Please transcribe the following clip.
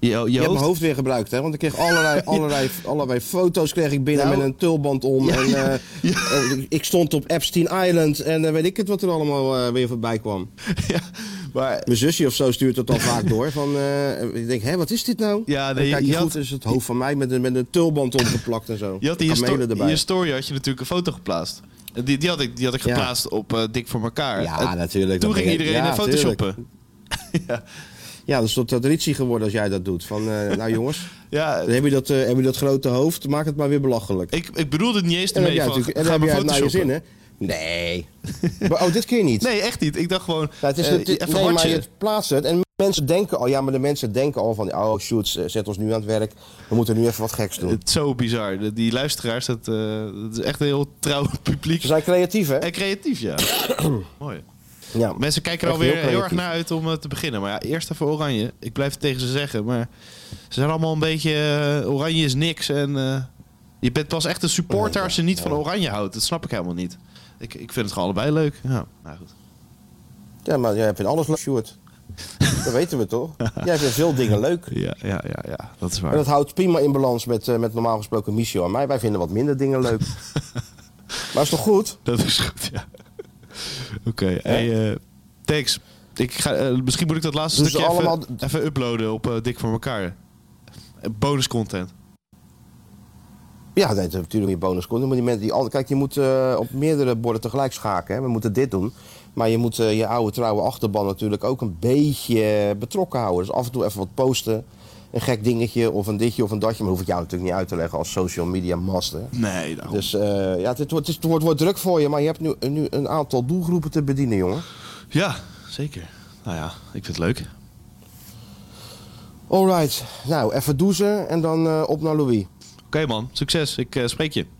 Je, je Je hebt hoofd? mijn hoofd weer gebruikt, hè? Want ik kreeg allerlei, allerlei, allerlei foto's kreeg ik binnen Nou. met een tulband om. Ja, en, ja, eh, eh, ik stond op Epstein Island en eh, weet ik het wat er allemaal eh, weer voorbij kwam. Ja, maar Mijn zusje of zo stuurt het dan vaak door. Van, eh, ik denk, hé, wat is dit nou? Ja, Dan nee, kijk je, je goed, had- is het hoofd van mij met een, met een tulband omgeplakt en zo. je had in je, Kamelen sto- in je story had je natuurlijk een foto geplaatst. En Die, die, had, ik, die had ik Ja. geplaatst op eh, Dik voor elkaar. Ja, En natuurlijk. Toen Dat ging begrijp- iedereen ja, in photoshoppen. ja, Ja, dat is tot traditie geworden als jij dat doet. Van, eh, nou jongens, ja dan heb je, dat, eh, heb je dat grote hoofd, maak het maar weer belachelijk. ik, ik bedoelde het niet eens En dan heb ermee jij van, Eh, natuurlijk en ga dan heb maar jij het naar je photoshoppen. zin, hè? Nee. Maar, oh, dit keer niet. Nee, echt niet. Ik dacht gewoon, Ja, het is eh, het- even nee, maar hartje. je plaatst het en mensen denken al, ja, maar de mensen denken al van, oh, shoots, eh, zet ons nu aan het werk. We moeten nu even wat geks doen. Het is zo bizar. De- Die luisteraars, dat, eh, dat is echt een heel trouw publiek. Ze zijn creatief, hè? En creatief, ja. Mooi. Ja. Mensen kijken er Echt alweer heel heel, erg creatief. naar uit om eh, te beginnen. Maar ja, eerst even Oranje. Ik blijf het tegen ze zeggen, maar ze zijn allemaal een beetje... eh, oranje is niks en eh, je bent pas echt een supporter als je niet van Oranje houdt. Dat snap ik helemaal niet. Ik, ik vind het gewoon allebei leuk. Ja, nou goed. ja, maar jij vindt alles leuk, Sjoerd. Dat weten we toch? Jij vindt veel dingen leuk. Ja, ja, ja, ja, dat is En waar. dat houdt prima in balans met, eh, met normaal gesproken Michio en mij. Wij vinden wat minder dingen leuk. maar is toch goed? Dat is goed, ja. Oké, hey, eh, thanks. Ik ga, eh, misschien moet ik dat laatste Doen ze stukje even, Dus allemaal- even uploaden op eh, Dik voor elkaar. Eh, Bonus content. Ja, nee, dat is natuurlijk je bonus komt. Maar die mensen die al- kijk, je moet eh, op meerdere borden tegelijk schaken. Hè. We moeten dit doen. Maar je moet eh, je oude trouwe achterban natuurlijk ook een beetje eh, betrokken houden. Dus af en toe even wat posten. Een gek dingetje of een ditje of een datje. Maar hoef ik jou natuurlijk niet uit te leggen als social media master. Nee, daarom. Dus eh, ja, het wordt, het, wordt, wordt druk voor je. Maar je hebt nu, nu een aantal doelgroepen te bedienen, jongen. Ja, zeker. Nou ja, ik vind het leuk. Alright. Nou, even douchen en dan eh, op naar Louis. Oké man, succes. Ik eh, spreek je.